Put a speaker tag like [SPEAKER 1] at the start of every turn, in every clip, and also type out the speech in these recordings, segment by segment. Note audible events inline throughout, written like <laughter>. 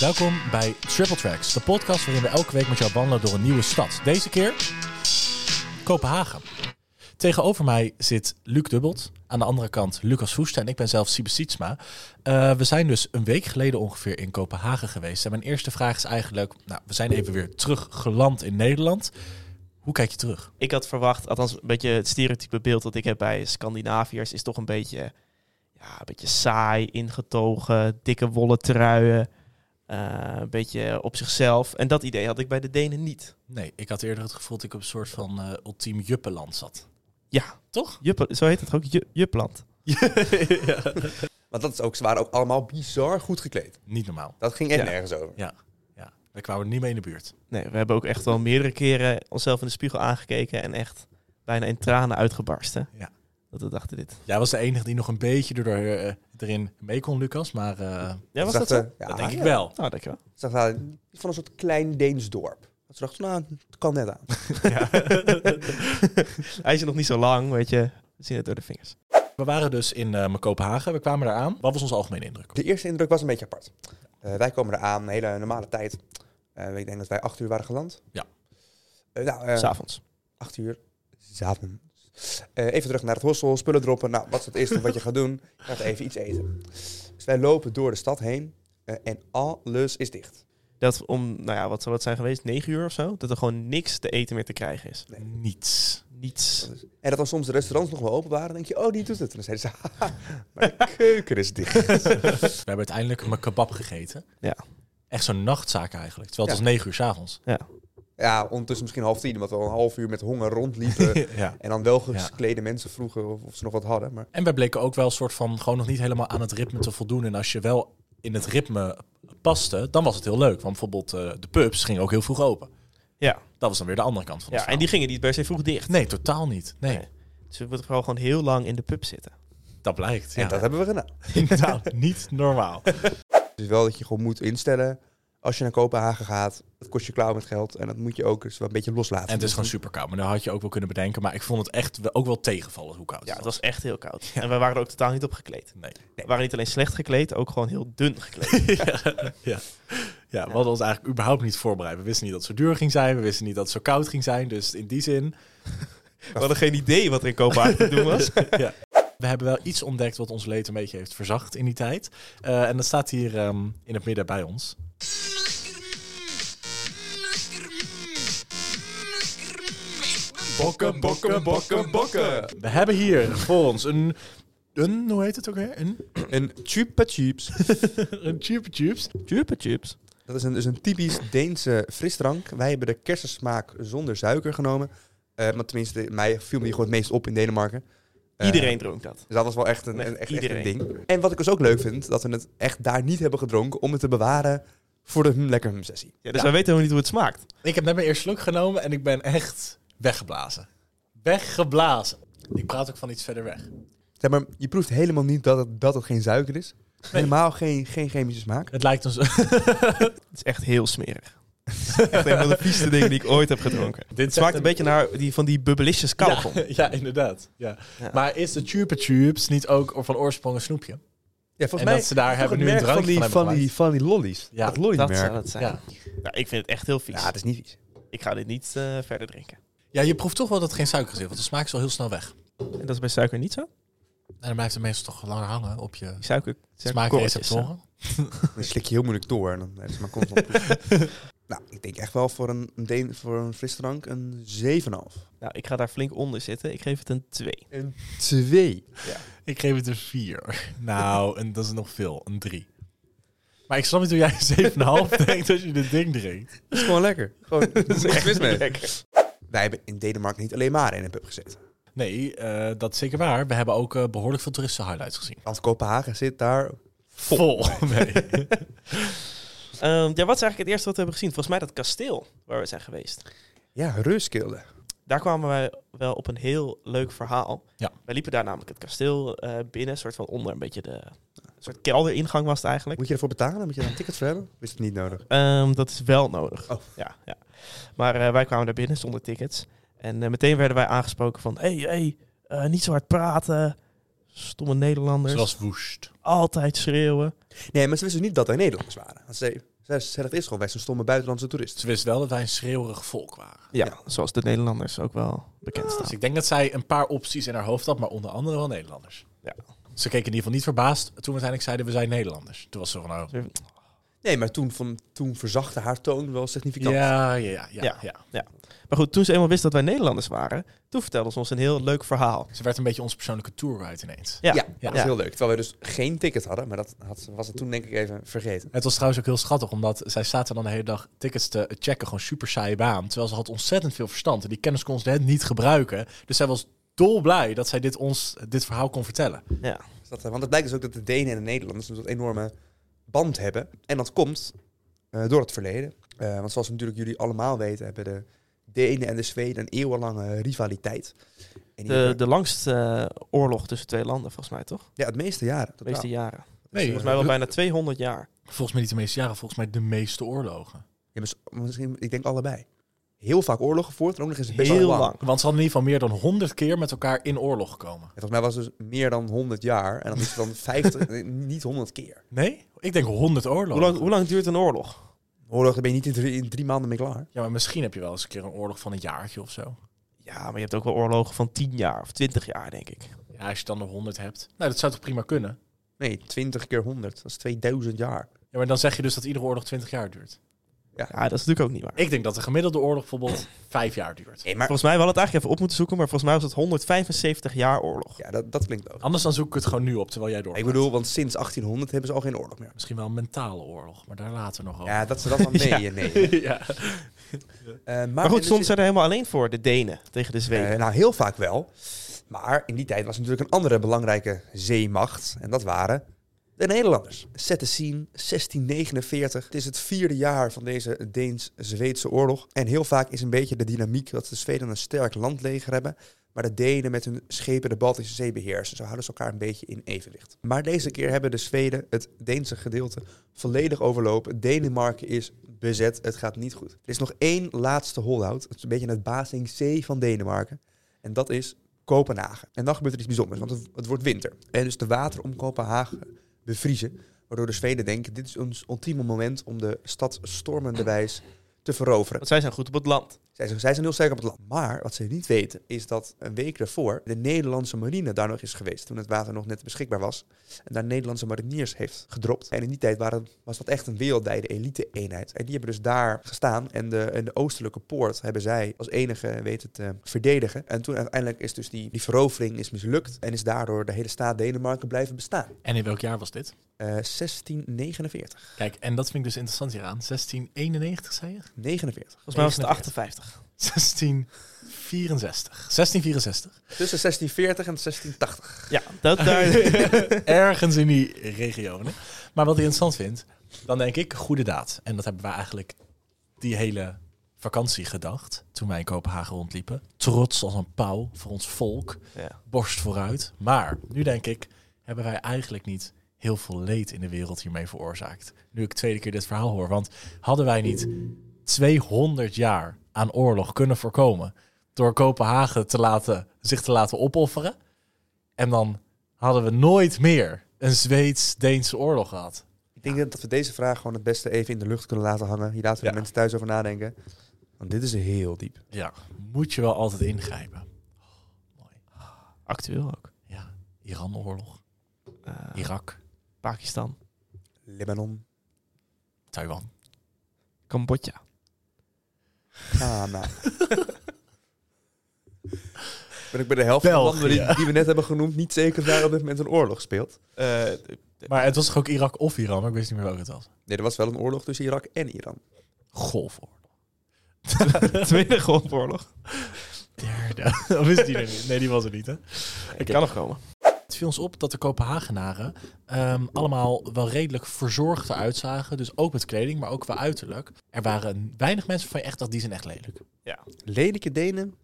[SPEAKER 1] Welkom bij Triple Tracks, de podcast waarin we elke week met jou wandelen door een nieuwe stad. Deze keer Kopenhagen. Tegenover mij zit Luc Dubbelt, aan de andere kant Lucas Voesta en ik ben zelf Siebe Sietsma. Eh, we zijn dus een week geleden ongeveer in Kopenhagen geweest. En mijn eerste vraag is eigenlijk, nou, we zijn even weer teruggeland in Nederland. Hoe kijk je terug?
[SPEAKER 2] ik had verwacht, althans een beetje het stereotype beeld dat ik heb bij Scandinaviërs, is toch een beetje, ja, een beetje saai, ingetogen, dikke wollen truien, eh, een beetje op zichzelf. En dat idee had ik bij de Denen niet.
[SPEAKER 1] Nee, ik had eerder het gevoel dat ik op een soort van eh, ultiem juppenland zat.
[SPEAKER 2] Ja,
[SPEAKER 1] Toch?
[SPEAKER 2] Juppe, zo heet het ook, Ju- Jupland.
[SPEAKER 3] Want dat is ook, ze waren ook allemaal bizar goed gekleed.
[SPEAKER 1] Niet normaal.
[SPEAKER 3] Dat ging echt
[SPEAKER 2] Ja.
[SPEAKER 3] nergens over.
[SPEAKER 1] Ja, daar kwamen we niet mee in de buurt.
[SPEAKER 2] Nee, we hebben ook echt wel meerdere keren onszelf in de spiegel aangekeken en echt bijna in tranen uitgebarsten.
[SPEAKER 1] Ja.
[SPEAKER 2] Dat we dachten dit.
[SPEAKER 1] Jij was de enige die nog een beetje erdoor, eh, erin mee kon, Lucas. Maar eh,
[SPEAKER 2] Ja, was
[SPEAKER 3] Ze
[SPEAKER 2] dat zo?
[SPEAKER 3] dachten,
[SPEAKER 2] Nou,
[SPEAKER 3] ja,
[SPEAKER 1] dat denk ik
[SPEAKER 3] ja.
[SPEAKER 1] wel. <laughs>
[SPEAKER 2] dankjewel.
[SPEAKER 3] Ze dachten, ah, van een soort klein Deens dorp. Dat ze dachten, nou, het kan net aan. <laughs>
[SPEAKER 2] <laughs> Hij is er nog niet zo lang, weet je. We zien het door de vingers.
[SPEAKER 1] We waren dus in eh, Kopenhagen. We kwamen daar aan. Wat was onze algemene indruk?
[SPEAKER 3] De eerste indruk was een beetje apart. Eh, wij komen eraan, een hele normale tijd. Eh, ik denk dat wij acht uur waren geland.
[SPEAKER 1] Ja.
[SPEAKER 3] Eh, nou, eh,
[SPEAKER 2] S'avonds.
[SPEAKER 3] acht uur. Zaten. even terug naar het hostel, spullen droppen. Nou, wat is het eerste wat je gaat doen? Je gaat even iets eten. Dus wij lopen door de stad heen eh, en alles is dicht.
[SPEAKER 2] dat om, nou ja, wat zou het zijn geweest? 9 uur of zo? Dat er gewoon niks te eten meer te krijgen is.
[SPEAKER 3] Nee.
[SPEAKER 1] Niets.
[SPEAKER 2] Niets.
[SPEAKER 3] Dat is- En dat dan soms de restaurants nog wel open waren, dan denk je, oh, die doet het. En dan zeiden ze, <laughs> haha,
[SPEAKER 1] <laughs>
[SPEAKER 3] maar de keuken is dicht.
[SPEAKER 1] We hebben uiteindelijk een kebab gegeten.
[SPEAKER 2] Ja.
[SPEAKER 1] Echt zo'n nachtzaak eigenlijk. Terwijl het
[SPEAKER 3] Ja.
[SPEAKER 1] was negen uur s'avonds.
[SPEAKER 3] Ja, ondertussen misschien half tien, omdat we al een half uur met honger
[SPEAKER 1] <laughs>
[SPEAKER 3] rondliepen.
[SPEAKER 1] Ja.
[SPEAKER 3] en dan wel
[SPEAKER 1] Ja.
[SPEAKER 3] geklede mensen vroegen of, of ze nog wat hadden. Maar
[SPEAKER 1] En wij bleken ook wel een soort van gewoon nog niet helemaal aan het ritme te voldoen. En als je wel in het ritme paste, dan was het heel leuk. Want bijvoorbeeld eh, de pubs gingen ook heel vroeg open.
[SPEAKER 2] Ja.
[SPEAKER 1] Dat was dan weer de andere kant van het
[SPEAKER 2] Ja, en die gingen niet per se vroeg dicht.
[SPEAKER 1] verhaal. Nee, totaal niet. Nee,
[SPEAKER 2] Nee. Dus we moeten vooral gewoon heel lang in de pub zitten.
[SPEAKER 1] dat blijkt.
[SPEAKER 3] en
[SPEAKER 1] Ja.
[SPEAKER 3] dat hebben we gedaan.
[SPEAKER 1] <laughs> Inderdaad, niet normaal.
[SPEAKER 3] Dus wel dat je gewoon moet instellen, als je naar Kopenhagen gaat, dat kost je klauw met geld. En dat moet je ook dus wel een beetje loslaten. Dus
[SPEAKER 1] En het is gewoon super koud. Maar dat had je ook wel kunnen bedenken. Maar ik vond het echt wel- ook wel tegenvallen hoe koud
[SPEAKER 2] Ja, het
[SPEAKER 1] was.
[SPEAKER 2] was echt heel koud. En wij waren er ook totaal niet op gekleed.
[SPEAKER 1] Nee.
[SPEAKER 2] We waren niet alleen slecht gekleed, ook gewoon heel dun <laughs> gekleed.
[SPEAKER 1] <laughs> ja, ja. ja, we hadden ons eigenlijk überhaupt niet voorbereid. We wisten niet dat het zo duur ging zijn. We wisten niet dat het zo koud ging zijn. Dus in die zin...
[SPEAKER 2] We hadden geen idee wat er in Kopenhagen te doen <laughs> was.
[SPEAKER 1] ja. We hebben wel iets ontdekt wat ons leed een beetje heeft verzacht in die tijd. Eh, en dat staat hier ehm, in het midden bij ons.
[SPEAKER 3] bokken, bokken, bokken, bokken.
[SPEAKER 1] We hebben <laughs> hier voor ons een... Een, hoe heet het ook weer? Een, <laughs>
[SPEAKER 3] En chupa chips.
[SPEAKER 1] een Chupa Chups.
[SPEAKER 2] Chupa chips.
[SPEAKER 3] Dat is een, dus een typisch Deense frisdrank. Wij hebben de kersensmaak zonder suiker genomen. Eh, maar tenminste, mij viel die gewoon het meest op in Denemarken. Eh,
[SPEAKER 2] Iedereen dronk dat.
[SPEAKER 3] Dus dat was wel echt een,
[SPEAKER 2] Nee,
[SPEAKER 3] een- echt, echt een
[SPEAKER 2] iedereen.
[SPEAKER 3] ding. En wat ik dus ook leuk vind, dat we het echt daar niet hebben gedronken om het te bewaren voor de hm, lekker hm sessie.
[SPEAKER 2] Ja, dus wij weten helemaal niet hoe het smaakt.
[SPEAKER 1] Ik heb net mijn eerste slok genomen en ik ben echt weggeblazen. Weggeblazen. Ik praat ook van iets verder weg.
[SPEAKER 3] Zeg maar, je proeft helemaal niet dat het, dat het geen suiker is. Helemaal geen, geen chemische smaak.
[SPEAKER 1] Het lijkt ons
[SPEAKER 2] Het is echt heel smerig. Het is echt een van de vieste dingen die ik ooit heb gedronken. Het
[SPEAKER 1] Dit
[SPEAKER 2] smaakt een beetje naar die, van die bubbelisjes kauwgom.
[SPEAKER 1] Ja, <laughs> ja, inderdaad. Ja.
[SPEAKER 2] Ja.
[SPEAKER 1] Maar is de Chupa Chups niet ook van oorsprong een snoepje?
[SPEAKER 3] Ja,
[SPEAKER 1] En dat ze daar hebben nu een drankje van, hebben gemaakt.
[SPEAKER 3] van die lollies.
[SPEAKER 1] Ja, Dat eh,
[SPEAKER 2] Dat zou het zijn.
[SPEAKER 1] Ja.
[SPEAKER 2] Ja, ik vind het echt heel vies.
[SPEAKER 3] Ja, het is niet vies.
[SPEAKER 2] Ik ga dit niet eh, verder drinken.
[SPEAKER 1] ja, je proeft toch wel dat het geen suiker zit, want de smaak is wel heel snel weg.
[SPEAKER 2] En dat is bij suiker niet zo?
[SPEAKER 1] En dan blijft het meestal toch langer hangen op je
[SPEAKER 2] Die suiker, eh, suikerkorreltjes,
[SPEAKER 1] smaakreceptoren.
[SPEAKER 3] Dan slik je heel moeilijk door en dan heb je maar <laughs> constant proeven. Nou, ik denk echt wel voor een, een Deen, voor een frisdrank een 7,5.
[SPEAKER 2] hè? Nou, ik ga daar flink onder zitten. Ik geef het een 2.
[SPEAKER 3] Een 2.
[SPEAKER 1] Ik geef het een 4. <laughs> Nou, en dat is nog veel, een 3. Maar ik snap niet hoe jij een 7,5 denkt als je dit ding drinkt.
[SPEAKER 3] Dat is gewoon lekker. <laughs> Gewoon, <laughs> dat is echt
[SPEAKER 2] lekker.
[SPEAKER 3] Wij hebben in Denemarken niet alleen maar in een pub gezeten.
[SPEAKER 1] Nee, eh, dat is zeker waar. We hebben ook eh, behoorlijk veel toeristen highlights gezien.
[SPEAKER 3] Want Kopenhagen zit daar
[SPEAKER 1] Vol. <laughs> Nee.
[SPEAKER 2] Ehm, ja, wat is eigenlijk het eerste wat we hebben gezien? Volgens mij dat kasteel waar we zijn geweest.
[SPEAKER 3] Ja, reuskilde.
[SPEAKER 2] Daar kwamen wij wel op een heel leuk verhaal.
[SPEAKER 1] Ja.
[SPEAKER 2] Wij liepen daar namelijk het kasteel eh, binnen, soort van onder, een beetje de een soort kelderingang was het eigenlijk.
[SPEAKER 3] Moet je ervoor betalen? Moet je daar een ticket voor hebben? Is het niet nodig?
[SPEAKER 2] Ehm, dat is wel nodig.
[SPEAKER 3] Oh.
[SPEAKER 2] Ja, ja. Maar eh, wij kwamen daar binnen zonder tickets. En eh, meteen werden wij aangesproken van... hey, hey, eh, niet zo hard praten. Stomme Nederlanders.
[SPEAKER 1] Zoals woest.
[SPEAKER 2] Altijd schreeuwen.
[SPEAKER 3] Nee, maar ze wisten dus niet dat wij Nederlanders waren. Want Ze ze- ze dachten eerst gewoon, wij zijn stomme buitenlandse toeristen.
[SPEAKER 1] Ze wisten wel dat wij een schreeuwerig volk waren.
[SPEAKER 2] Ja,
[SPEAKER 3] Ja. Ah.
[SPEAKER 2] zoals de Nederlanders ook wel bekend staan.
[SPEAKER 1] Dus ik denk dat zij een paar opties in haar hoofd had, maar onder andere wel Nederlanders.
[SPEAKER 2] Ja.
[SPEAKER 1] Ze keken in ieder geval niet verbaasd toen we uiteindelijk zeiden we zijn Nederlanders. Toen was ze van, oh,
[SPEAKER 3] Nee, maar toen, van, toen verzachte haar toon wel significant.
[SPEAKER 1] ja, ja, ja, ja,
[SPEAKER 2] Ja.
[SPEAKER 1] ja.
[SPEAKER 2] Maar goed, toen ze eenmaal wist dat wij Nederlanders waren, toen vertelden ze ons een heel leuk verhaal.
[SPEAKER 1] Ze werd een beetje onze persoonlijke tourguide ineens.
[SPEAKER 2] Ja,
[SPEAKER 3] Ja, dat was
[SPEAKER 2] Ja.
[SPEAKER 3] heel leuk. Terwijl we dus geen ticket hadden, maar dat had, ze- was het toen denk ik even vergeten.
[SPEAKER 1] Het was trouwens ook heel schattig, omdat zij zaten dan de hele dag tickets te checken, gewoon super saaie baan. Terwijl ze had ontzettend veel verstand en die kennis kon ze net niet gebruiken. Dus zij was dolblij dat zij dit, ons, dit verhaal kon vertellen.
[SPEAKER 3] Dus dat, eh, want het blijkt dus ook dat de Denen en de Nederlanders een soort enorme band hebben. En dat komt eh, door het verleden. Eh, want zoals natuurlijk jullie allemaal weten, hebben de Denen en de Zweden een eeuwenlange rivaliteit. En die
[SPEAKER 2] de,
[SPEAKER 3] hebben-
[SPEAKER 2] de langste eh, oorlog tussen twee landen, volgens mij toch?
[SPEAKER 3] ja, het meeste jaren.
[SPEAKER 2] De meeste
[SPEAKER 3] totaal.
[SPEAKER 2] jaren.
[SPEAKER 1] Nee,
[SPEAKER 2] Volgens mij wel bijna 200 jaar.
[SPEAKER 1] Dus, eh, Volgens mij niet de meeste jaren, volgens mij de meeste oorlogen.
[SPEAKER 3] Ja, mis- misschien, ik denk allebei. Heel vaak oorlog gevoerd en ook nog eens best
[SPEAKER 2] Heel
[SPEAKER 3] wel lang.
[SPEAKER 2] lang.
[SPEAKER 1] Want ze hadden in ieder geval meer dan 100 keer met elkaar in oorlog gekomen.
[SPEAKER 3] En volgens mij was het dus meer dan 100 jaar. En dan is het
[SPEAKER 2] <laughs>
[SPEAKER 3] dan 50, nee, niet 100 keer.
[SPEAKER 1] Nee? Ik denk 100 oorlogen.
[SPEAKER 2] Hoe lang, hoe lang duurt een oorlog?
[SPEAKER 3] Oorlog, daar ben je niet in drie, in drie maanden mee klaar.
[SPEAKER 1] Ja, maar misschien heb je wel eens een keer een oorlog van een jaartje of zo.
[SPEAKER 2] Ja, maar je hebt ook wel oorlogen van 10 jaar of 20 jaar, denk ik.
[SPEAKER 1] Ja, als je dan nog 100 hebt. Nou, dat zou toch prima kunnen?
[SPEAKER 3] Nee, 20 keer 100. Dat is 2000 jaar.
[SPEAKER 1] Ja, maar dan zeg je dus dat iedere oorlog 20 jaar duurt.
[SPEAKER 2] Ja, dat is natuurlijk ook niet waar.
[SPEAKER 1] Ik denk dat de gemiddelde oorlog bijvoorbeeld <clears throat> 5 jaar duurt.
[SPEAKER 3] Nee, maar
[SPEAKER 2] Volgens mij, we hadden het eigenlijk even op moeten zoeken, maar volgens mij was het 175 jaar oorlog.
[SPEAKER 3] ja, dat, dat klinkt ook.
[SPEAKER 1] Anders dan zoek ik het gewoon nu op, terwijl jij door.
[SPEAKER 3] Ik bedoel, want sinds 1800 hebben ze al geen oorlog meer.
[SPEAKER 1] Misschien wel een mentale oorlog, maar daar later nog over.
[SPEAKER 3] Ja, dat ze
[SPEAKER 2] <laughs>
[SPEAKER 3] dat dan mee.
[SPEAKER 2] Oh. Ja.
[SPEAKER 3] nee.
[SPEAKER 1] <laughs> ja.
[SPEAKER 2] <laughs>
[SPEAKER 3] maar,
[SPEAKER 2] Maar goed,
[SPEAKER 3] en
[SPEAKER 2] stond
[SPEAKER 3] dus-
[SPEAKER 2] ze er helemaal alleen voor, de Denen tegen de Zweden.
[SPEAKER 3] eh, nou, heel vaak wel. Maar in die tijd was er natuurlijk een andere belangrijke zeemacht. En dat waren de Nederlanders. Zet de scene, 1649. Het is het vierde jaar van deze Deens-Zweedse oorlog. En heel vaak is een beetje de dynamiek dat de Zweden een sterk landleger hebben. Maar de Denen met hun schepen de Baltische Zee beheersen. Zo houden ze elkaar een beetje in evenwicht. Maar deze keer hebben de Zweden het Deense gedeelte volledig overlopen. Denemarken is bezet. Het gaat niet goed. Er is nog één laatste holdout. Het is een beetje het Basing C van Denemarken. En dat is Kopenhagen. En dan gebeurt er iets bijzonders, want het, het wordt winter. En dus de wateren om Kopenhagen bevriezen. Waardoor de Zweden denken, dit is ons ultieme moment om de stad stormenderwijs te veroveren.
[SPEAKER 2] Want zij zijn goed op het land.
[SPEAKER 3] Zij zijn, zij zijn heel sterk op het land. Maar wat ze niet weten, is dat een week daarvoor de Nederlandse marine daar nog is geweest. Toen het water nog net beschikbaar was. En daar Nederlandse mariniers heeft gedropt. En in die tijd waren, was dat echt een wereldwijde elite-eenheid. En die hebben dus daar gestaan. En de, en de oostelijke poort hebben zij als enige weten te verdedigen. En toen uiteindelijk is dus die, die verovering is mislukt. En is daardoor de hele staat Denemarken blijven bestaan.
[SPEAKER 1] En in welk jaar was dit?
[SPEAKER 3] Eh, 1649.
[SPEAKER 1] Kijk, en dat vind ik dus interessant hieraan. 1691, zei je? <laughs>
[SPEAKER 3] 49.
[SPEAKER 2] Volgens mij was het
[SPEAKER 1] 49.
[SPEAKER 2] 58.
[SPEAKER 1] 1664. 1664.
[SPEAKER 3] Tussen 1640 en 1680.
[SPEAKER 2] Ja, dat <laughs> daar...
[SPEAKER 1] Ergens in die regionen. Maar wat ik interessant vind, dan denk ik, goede daad. En dat hebben we eigenlijk die hele vakantie gedacht. Toen wij in Kopenhagen rondliepen. Trots als een pauw voor ons volk.
[SPEAKER 2] ja.
[SPEAKER 1] borst vooruit. Maar nu denk ik, hebben wij eigenlijk niet heel veel leed in de wereld hiermee veroorzaakt. Nu ik tweede keer dit verhaal hoor. Want hadden wij niet 200 jaar aan oorlog kunnen voorkomen... door Kopenhagen te laten, zich te laten opofferen... en dan hadden we nooit meer een Zweeds-Deense oorlog gehad.
[SPEAKER 3] Ik denk dat we deze vraag gewoon het beste even in de lucht kunnen laten hangen. Hier laten we
[SPEAKER 1] Ja.
[SPEAKER 3] de mensen thuis over nadenken. Want dit is heel diep.
[SPEAKER 1] Ja, moet je wel altijd ingrijpen.
[SPEAKER 2] Actueel ook.
[SPEAKER 1] Ja, Iran-oorlog,
[SPEAKER 2] Eh,
[SPEAKER 1] Irak,
[SPEAKER 2] Pakistan,
[SPEAKER 3] Libanon,
[SPEAKER 1] Taiwan.
[SPEAKER 2] Cambodja.
[SPEAKER 1] <laughs>
[SPEAKER 3] Ghana. ben ik bij de helft van
[SPEAKER 1] België.
[SPEAKER 3] de landen die, die we net hebben genoemd niet zeker of daar op dit moment een oorlog speelt.
[SPEAKER 2] Eh,
[SPEAKER 1] Maar het was toch ook Irak of Iran? Maar ik wist niet meer welke het was.
[SPEAKER 3] Nee, er was wel een oorlog tussen Irak en Iran.
[SPEAKER 1] Golfoorlog.
[SPEAKER 2] <laughs> Tweede Golfoorlog.
[SPEAKER 1] derde. <laughs> Of is die er niet? Nee, die was er niet, hè?
[SPEAKER 2] <laughs> Ik kan nog komen.
[SPEAKER 1] Het viel ons op dat de Kopenhagenaren ehm, allemaal wel redelijk verzorgd eruit zagen. Dus ook met kleding, maar ook qua uiterlijk. Er waren weinig mensen van je echt dacht, die zijn echt lelijk.
[SPEAKER 3] Lelijke Denen,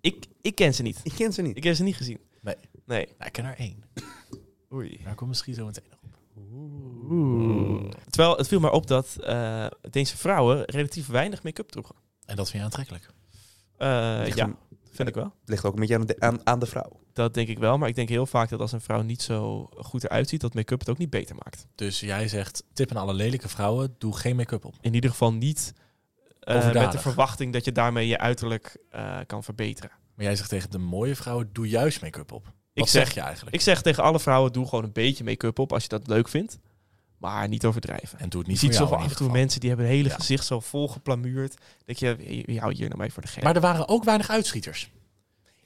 [SPEAKER 2] Ik, ik ken ze niet.
[SPEAKER 3] ik ken ze niet.
[SPEAKER 2] Ik heb ze niet gezien.
[SPEAKER 1] Nee.
[SPEAKER 2] Nee.
[SPEAKER 1] Nou, ik ken er één.
[SPEAKER 2] Oei.
[SPEAKER 1] Daar komt misschien zo meteen nog op.
[SPEAKER 2] Terwijl het viel maar op dat eh Deense vrouwen relatief weinig make-up droegen.
[SPEAKER 1] En dat vind je aantrekkelijk.
[SPEAKER 2] Eh,
[SPEAKER 3] Ligt
[SPEAKER 2] ja.
[SPEAKER 3] hem-
[SPEAKER 2] Vind ik wel.
[SPEAKER 3] Het ligt ook een beetje aan de, aan, aan de vrouw.
[SPEAKER 2] Dat denk ik wel. Maar ik denk heel vaak dat als een vrouw niet zo goed eruit ziet, dat make-up het ook niet beter maakt.
[SPEAKER 1] Dus jij zegt, tip aan alle lelijke vrouwen, doe geen make-up op.
[SPEAKER 2] In ieder geval niet eh, met de
[SPEAKER 1] Overdadig.
[SPEAKER 2] verwachting dat je daarmee je uiterlijk eh, kan verbeteren.
[SPEAKER 1] Maar jij zegt tegen de mooie vrouwen, doe juist make-up op. Wat
[SPEAKER 2] Ik
[SPEAKER 1] zeg,
[SPEAKER 2] zeg-
[SPEAKER 1] je eigenlijk?
[SPEAKER 2] Ik zeg tegen alle vrouwen, doe gewoon een beetje make-up op als je dat leuk vindt. Maar niet overdrijven.
[SPEAKER 1] En doe het
[SPEAKER 2] Je
[SPEAKER 1] niet
[SPEAKER 2] ziet
[SPEAKER 1] voor jou
[SPEAKER 2] zoveel
[SPEAKER 1] in
[SPEAKER 2] af en
[SPEAKER 1] ieder
[SPEAKER 2] toe
[SPEAKER 1] geval.
[SPEAKER 2] mensen die hebben het hele
[SPEAKER 1] Ja.
[SPEAKER 2] gezicht zo vol geplamuurd. Dat je, wie- wie houdt hier nou mee voor de gek?
[SPEAKER 1] Maar er waren ook weinig uitschieters.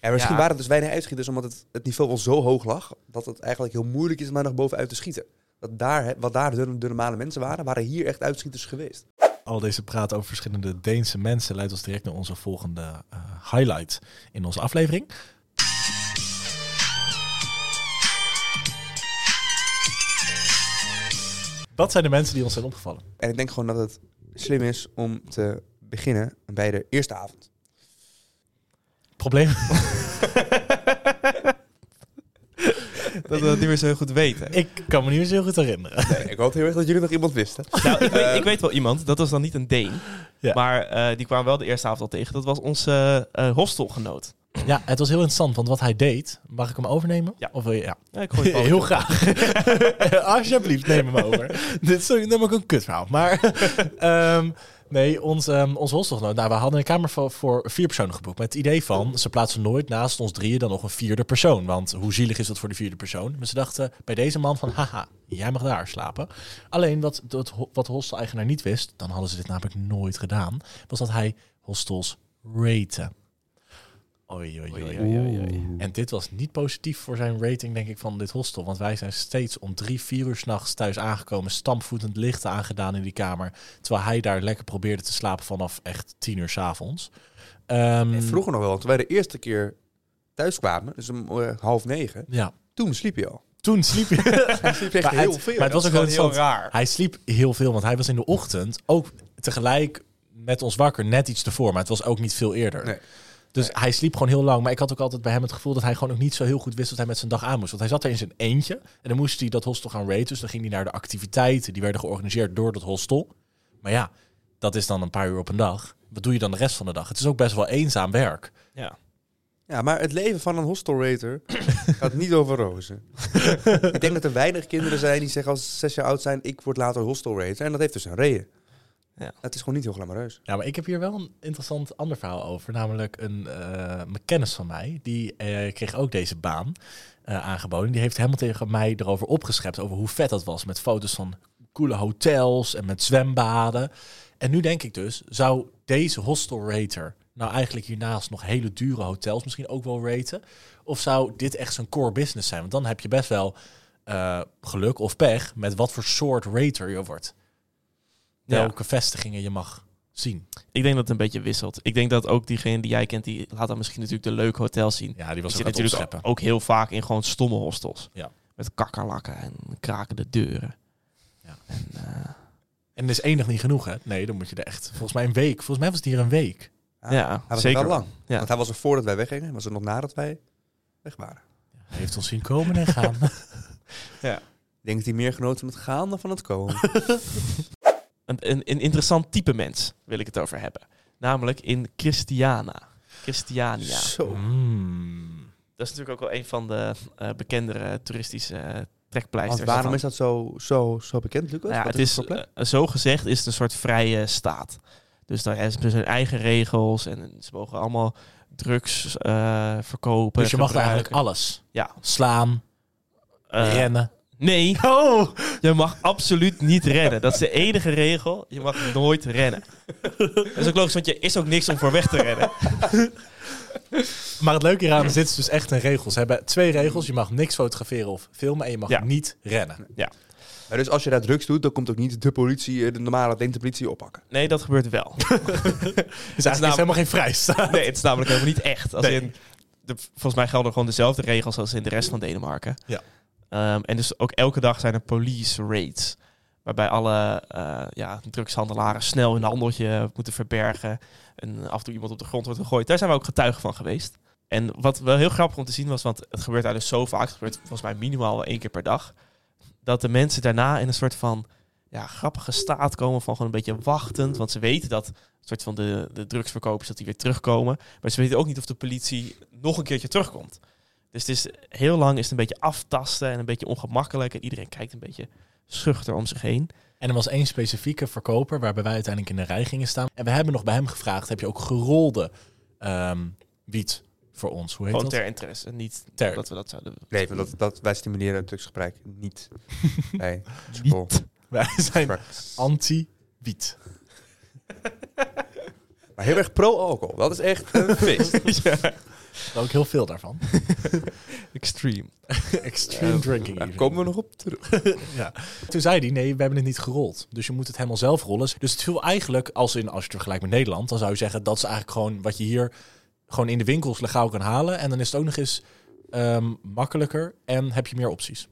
[SPEAKER 3] En misschien
[SPEAKER 2] Ja.
[SPEAKER 3] waren het dus weinig uitschieters, omdat het, het niveau wel zo hoog lag, dat het eigenlijk heel moeilijk is om daar nog bovenuit te schieten. Dat daar, hè, wat daar de, de normale mensen waren, waren hier echt uitschieters geweest.
[SPEAKER 1] Al deze praat over verschillende Deense mensen leidt ons direct naar onze volgende eh, highlight in onze aflevering. Wat zijn de mensen die ons zijn opgevallen?
[SPEAKER 3] En ik denk gewoon dat het slim is om te beginnen bij de eerste avond.
[SPEAKER 1] Probleem?
[SPEAKER 2] <laughs>
[SPEAKER 1] <laughs>
[SPEAKER 2] dat we dat niet meer zo heel goed weten.
[SPEAKER 1] Ik kan me niet meer zo heel goed herinneren.
[SPEAKER 3] Nee, ik hoop heel erg dat jullie nog iemand wisten.
[SPEAKER 2] Nou, ik, weet, ik weet wel iemand, dat was dan niet een Deen.
[SPEAKER 1] Eh, Ja.
[SPEAKER 2] Maar eh, die kwamen wel de eerste avond al tegen. Dat was onze eh, eh, hostelgenoot.
[SPEAKER 1] Ja, het was heel interessant, want wat hij deed, mag ik hem overnemen?
[SPEAKER 2] Ja.
[SPEAKER 1] Of wil je, <laughs> ja.
[SPEAKER 2] Ja, ik gooi het balletje
[SPEAKER 1] Heel
[SPEAKER 2] op.
[SPEAKER 1] graag. <laughs> Alsjeblieft, neem hem over.
[SPEAKER 2] <laughs>
[SPEAKER 1] Dit is ook- namelijk een kutverhaal. Maar <laughs> ehm, nee, ons, ehm ons hostelgenoot. Nou, we hadden een kamer voor, voor vier personen geboekt. Met het idee van, ze plaatsen nooit naast ons drieën dan nog een vierde persoon. Want hoe zielig is dat voor de vierde persoon? Maar ze dachten bij deze man van, haha, jij mag daar slapen. Alleen wat, dat, ho- wat de hostel-eigenaar niet wist, dan hadden ze dit namelijk nooit gedaan, was dat hij hostels raten. Oei, oei, oei. En dit was niet positief voor zijn rating, denk ik, van dit hostel. Want wij zijn steeds om drie, vier uur s'nachts thuis aangekomen. Stampvoetend licht aangedaan in die kamer. Terwijl hij daar lekker probeerde te slapen vanaf echt tien uur s'avonds. Ehm
[SPEAKER 3] En vroeger nog wel, want toen wij de eerste keer thuis kwamen, dus om eh, half negen,
[SPEAKER 1] Ja,
[SPEAKER 3] toen sliep je al.
[SPEAKER 1] toen sliep hij.
[SPEAKER 3] Hij sliep echt
[SPEAKER 1] Maar
[SPEAKER 3] heel
[SPEAKER 1] het-
[SPEAKER 3] veel.
[SPEAKER 1] maar het was
[SPEAKER 2] Dat
[SPEAKER 1] ook
[SPEAKER 2] is
[SPEAKER 1] heel
[SPEAKER 2] gewoon heel
[SPEAKER 1] interessant.
[SPEAKER 2] raar.
[SPEAKER 1] Hij sliep heel veel, want hij was in de ochtend ook tegelijk met ons wakker. Net iets ervoor, maar het was ook niet veel eerder.
[SPEAKER 3] Nee.
[SPEAKER 1] Dus hij sliep gewoon heel lang. Maar ik had ook altijd bij hem het gevoel dat hij gewoon ook niet zo heel goed wist wat hij met zijn dag aan moest. Want hij zat er in zijn eentje. En dan moest hij dat hostel gaan raten. Dus dan ging hij naar de activiteiten. Die werden georganiseerd door dat hostel. Maar ja, dat is dan een paar uur op een dag. Wat doe je dan de rest van de dag? Het is ook best wel eenzaam werk.
[SPEAKER 2] Ja.
[SPEAKER 3] Ja, maar het leven van een hostelrater <coughs> gaat niet over rozen. ik denk dat er weinig kinderen zijn die zeggen als ze zes jaar oud zijn, ik word later hostelrater. En dat heeft dus een reden.
[SPEAKER 2] Ja.
[SPEAKER 3] Het is gewoon niet heel glamoureus.
[SPEAKER 1] Ja, maar ik heb hier wel een interessant ander verhaal over. Namelijk een, eh, mijn kennis van mij, die eh, kreeg ook deze baan eh, aangeboden. Die heeft helemaal tegen mij erover opgeschept, over hoe vet dat was. Met foto's van coole hotels en met zwembaden. En nu denk ik dus, zou deze hostelrater nou eigenlijk hiernaast nog hele dure hotels misschien ook wel raten? Of zou dit echt zijn core business zijn? Want dan heb je best wel eh, geluk of pech met wat voor soort rater je wordt.
[SPEAKER 2] Ja.
[SPEAKER 1] Welke vestigingen je mag zien.
[SPEAKER 2] Ik denk dat het een beetje wisselt. Ik denk dat ook diegene die jij kent, die laat dan misschien natuurlijk de leuke hotels zien.
[SPEAKER 1] Ja, die
[SPEAKER 2] Ik
[SPEAKER 1] was
[SPEAKER 2] zit
[SPEAKER 1] ook aan het
[SPEAKER 2] natuurlijk
[SPEAKER 1] opscheppen.
[SPEAKER 2] ook heel vaak in gewoon stomme hostels.
[SPEAKER 1] Ja.
[SPEAKER 2] Met kakkerlakken en krakende deuren.
[SPEAKER 1] Ja.
[SPEAKER 2] En, eh,
[SPEAKER 1] En dat is enig niet genoeg, hè? Nee, dan moet je er echt... Volgens mij een week. Volgens mij was het hier een week.
[SPEAKER 3] Ah,
[SPEAKER 2] ja,
[SPEAKER 3] Hij was
[SPEAKER 2] zeker.
[SPEAKER 3] er wel lang.
[SPEAKER 2] Ja.
[SPEAKER 3] Want hij was er voordat wij weggingen, hij was er nog nadat wij weg waren.
[SPEAKER 1] Hij heeft ons zien komen en <laughs> gaan.
[SPEAKER 3] Ik denk dat hij meer genoten van het gaan dan van het <laughs> komen.
[SPEAKER 2] Een, een, een interessant type mens wil ik het over hebben. Namelijk in Christiana. Christiania.
[SPEAKER 1] Oh.
[SPEAKER 3] Zo.
[SPEAKER 1] Mm.
[SPEAKER 2] Dat is natuurlijk ook wel een van de eh, bekendere toeristische eh, trekpleisters.
[SPEAKER 3] Want waarom
[SPEAKER 2] daarvan.
[SPEAKER 3] is dat zo, zo, zo bekend, Lucas?
[SPEAKER 2] Nou ja,
[SPEAKER 3] Wat
[SPEAKER 2] het is,
[SPEAKER 3] voor plek?
[SPEAKER 2] eh, zo gezegd is het een soort vrije staat. Dus daar hebben ze hun eigen regels en ze mogen allemaal drugs eh, verkopen.
[SPEAKER 1] Dus je mag daar eigenlijk
[SPEAKER 2] gebruiken.
[SPEAKER 1] alles.
[SPEAKER 2] Ja.
[SPEAKER 1] Slaan,
[SPEAKER 2] Eh,
[SPEAKER 1] rennen. <laughs>
[SPEAKER 2] Nee. Oh. Je mag absoluut niet rennen. Dat is de enige regel. Je mag nooit rennen. Dat is ook logisch, want je is ook niks om voor weg te rennen.
[SPEAKER 1] Maar het leuke hieraan is, dit is dus echt een regel. Ze hebben twee regels. Je mag niks fotograferen of filmen en je mag
[SPEAKER 2] Ja.
[SPEAKER 1] niet rennen.
[SPEAKER 3] Maar dus als je daar drugs doet, dan komt ook niet de politie, eh, de normale Deense politie oppakken.
[SPEAKER 2] Nee, dat gebeurt wel.
[SPEAKER 1] Dus eigenlijk is
[SPEAKER 2] naam-
[SPEAKER 1] helemaal geen vrijstaat.
[SPEAKER 2] Nee, het is namelijk helemaal niet echt. Als
[SPEAKER 1] Nee.
[SPEAKER 2] in, de, volgens mij gelden gewoon dezelfde regels als in de rest van Denemarken.
[SPEAKER 1] Ja.
[SPEAKER 2] Ehm, en dus ook elke dag zijn er police raids. Waarbij alle eh, ja, drugshandelaren snel hun handeltje moeten verbergen. En af en toe iemand op de grond wordt gegooid. Daar zijn we ook getuigen van geweest. En wat wel heel grappig om te zien was, want het gebeurt eigenlijk zo vaak. Het gebeurt volgens mij minimaal wel één keer per dag. Dat de mensen daarna in een soort van ja, grappige staat komen van gewoon een beetje wachtend. Want ze weten dat soort van de, de drugsverkopers dat die weer terugkomen. Maar ze weten ook niet of de politie nog een keertje terugkomt. Dus het is heel lang is het een beetje aftasten en een beetje ongemakkelijk. En iedereen kijkt een beetje schuchter om zich heen.
[SPEAKER 1] <laughs> En er was één specifieke verkoper waarbij wij uiteindelijk in de rij gingen staan. En we hebben nog bij hem gevraagd, heb je ook gerolde ehm, wiet voor ons? Hoe heet
[SPEAKER 2] Gewoon
[SPEAKER 1] dat?
[SPEAKER 2] ter interesse. Niet
[SPEAKER 1] Ter-
[SPEAKER 2] dat we dat zouden <laughs>
[SPEAKER 3] Nee, want dat, dat, wij stimuleren het drugsgebruik <laughs> niet. Nee, triple
[SPEAKER 1] <laughs> Wij zijn
[SPEAKER 3] drugs.
[SPEAKER 1] anti-wiet.
[SPEAKER 3] Maar heel erg pro-alcohol. Dat is echt een feest.
[SPEAKER 1] <laughs>
[SPEAKER 2] ja,
[SPEAKER 1] Ook heel veel
[SPEAKER 3] <laughs>
[SPEAKER 1] daarvan.
[SPEAKER 2] extreme.
[SPEAKER 1] Extreme
[SPEAKER 3] Eh,
[SPEAKER 1] drinking.
[SPEAKER 3] Daar
[SPEAKER 1] even.
[SPEAKER 3] komen we nog op terug.
[SPEAKER 1] <laughs> ja. Toen zei hij, nee, we hebben het niet gerold. Dus je moet het helemaal zelf rollen. Dus het viel eigenlijk, als, in, als je het vergelijkt met Nederland... dan zou je zeggen, dat is eigenlijk gewoon wat je hier... gewoon in de winkels legaal kan halen. En dan is het ook nog eens ehm, makkelijker en heb je meer opties.